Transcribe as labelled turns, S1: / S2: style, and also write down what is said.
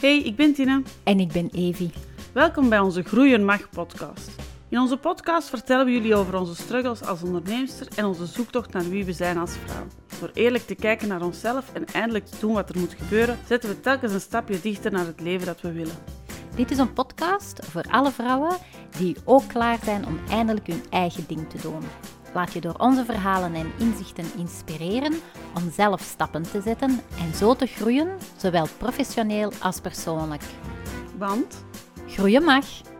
S1: Hey, ik ben Tine.
S2: En ik ben Evi.
S1: Welkom bij onze Groeien Mag podcast. In onze podcast vertellen we jullie over onze struggles als onderneemster en onze zoektocht naar wie we zijn als vrouw. Door eerlijk te kijken naar onszelf en eindelijk te doen wat er moet gebeuren, zetten we telkens een stapje dichter naar het leven dat we willen.
S2: Dit is een podcast voor alle vrouwen die ook klaar zijn om eindelijk hun eigen ding te doen. Laat je door onze verhalen en inzichten inspireren om zelf stappen te zetten en zo te groeien, zowel professioneel als persoonlijk.
S1: Want
S2: Groeien mag!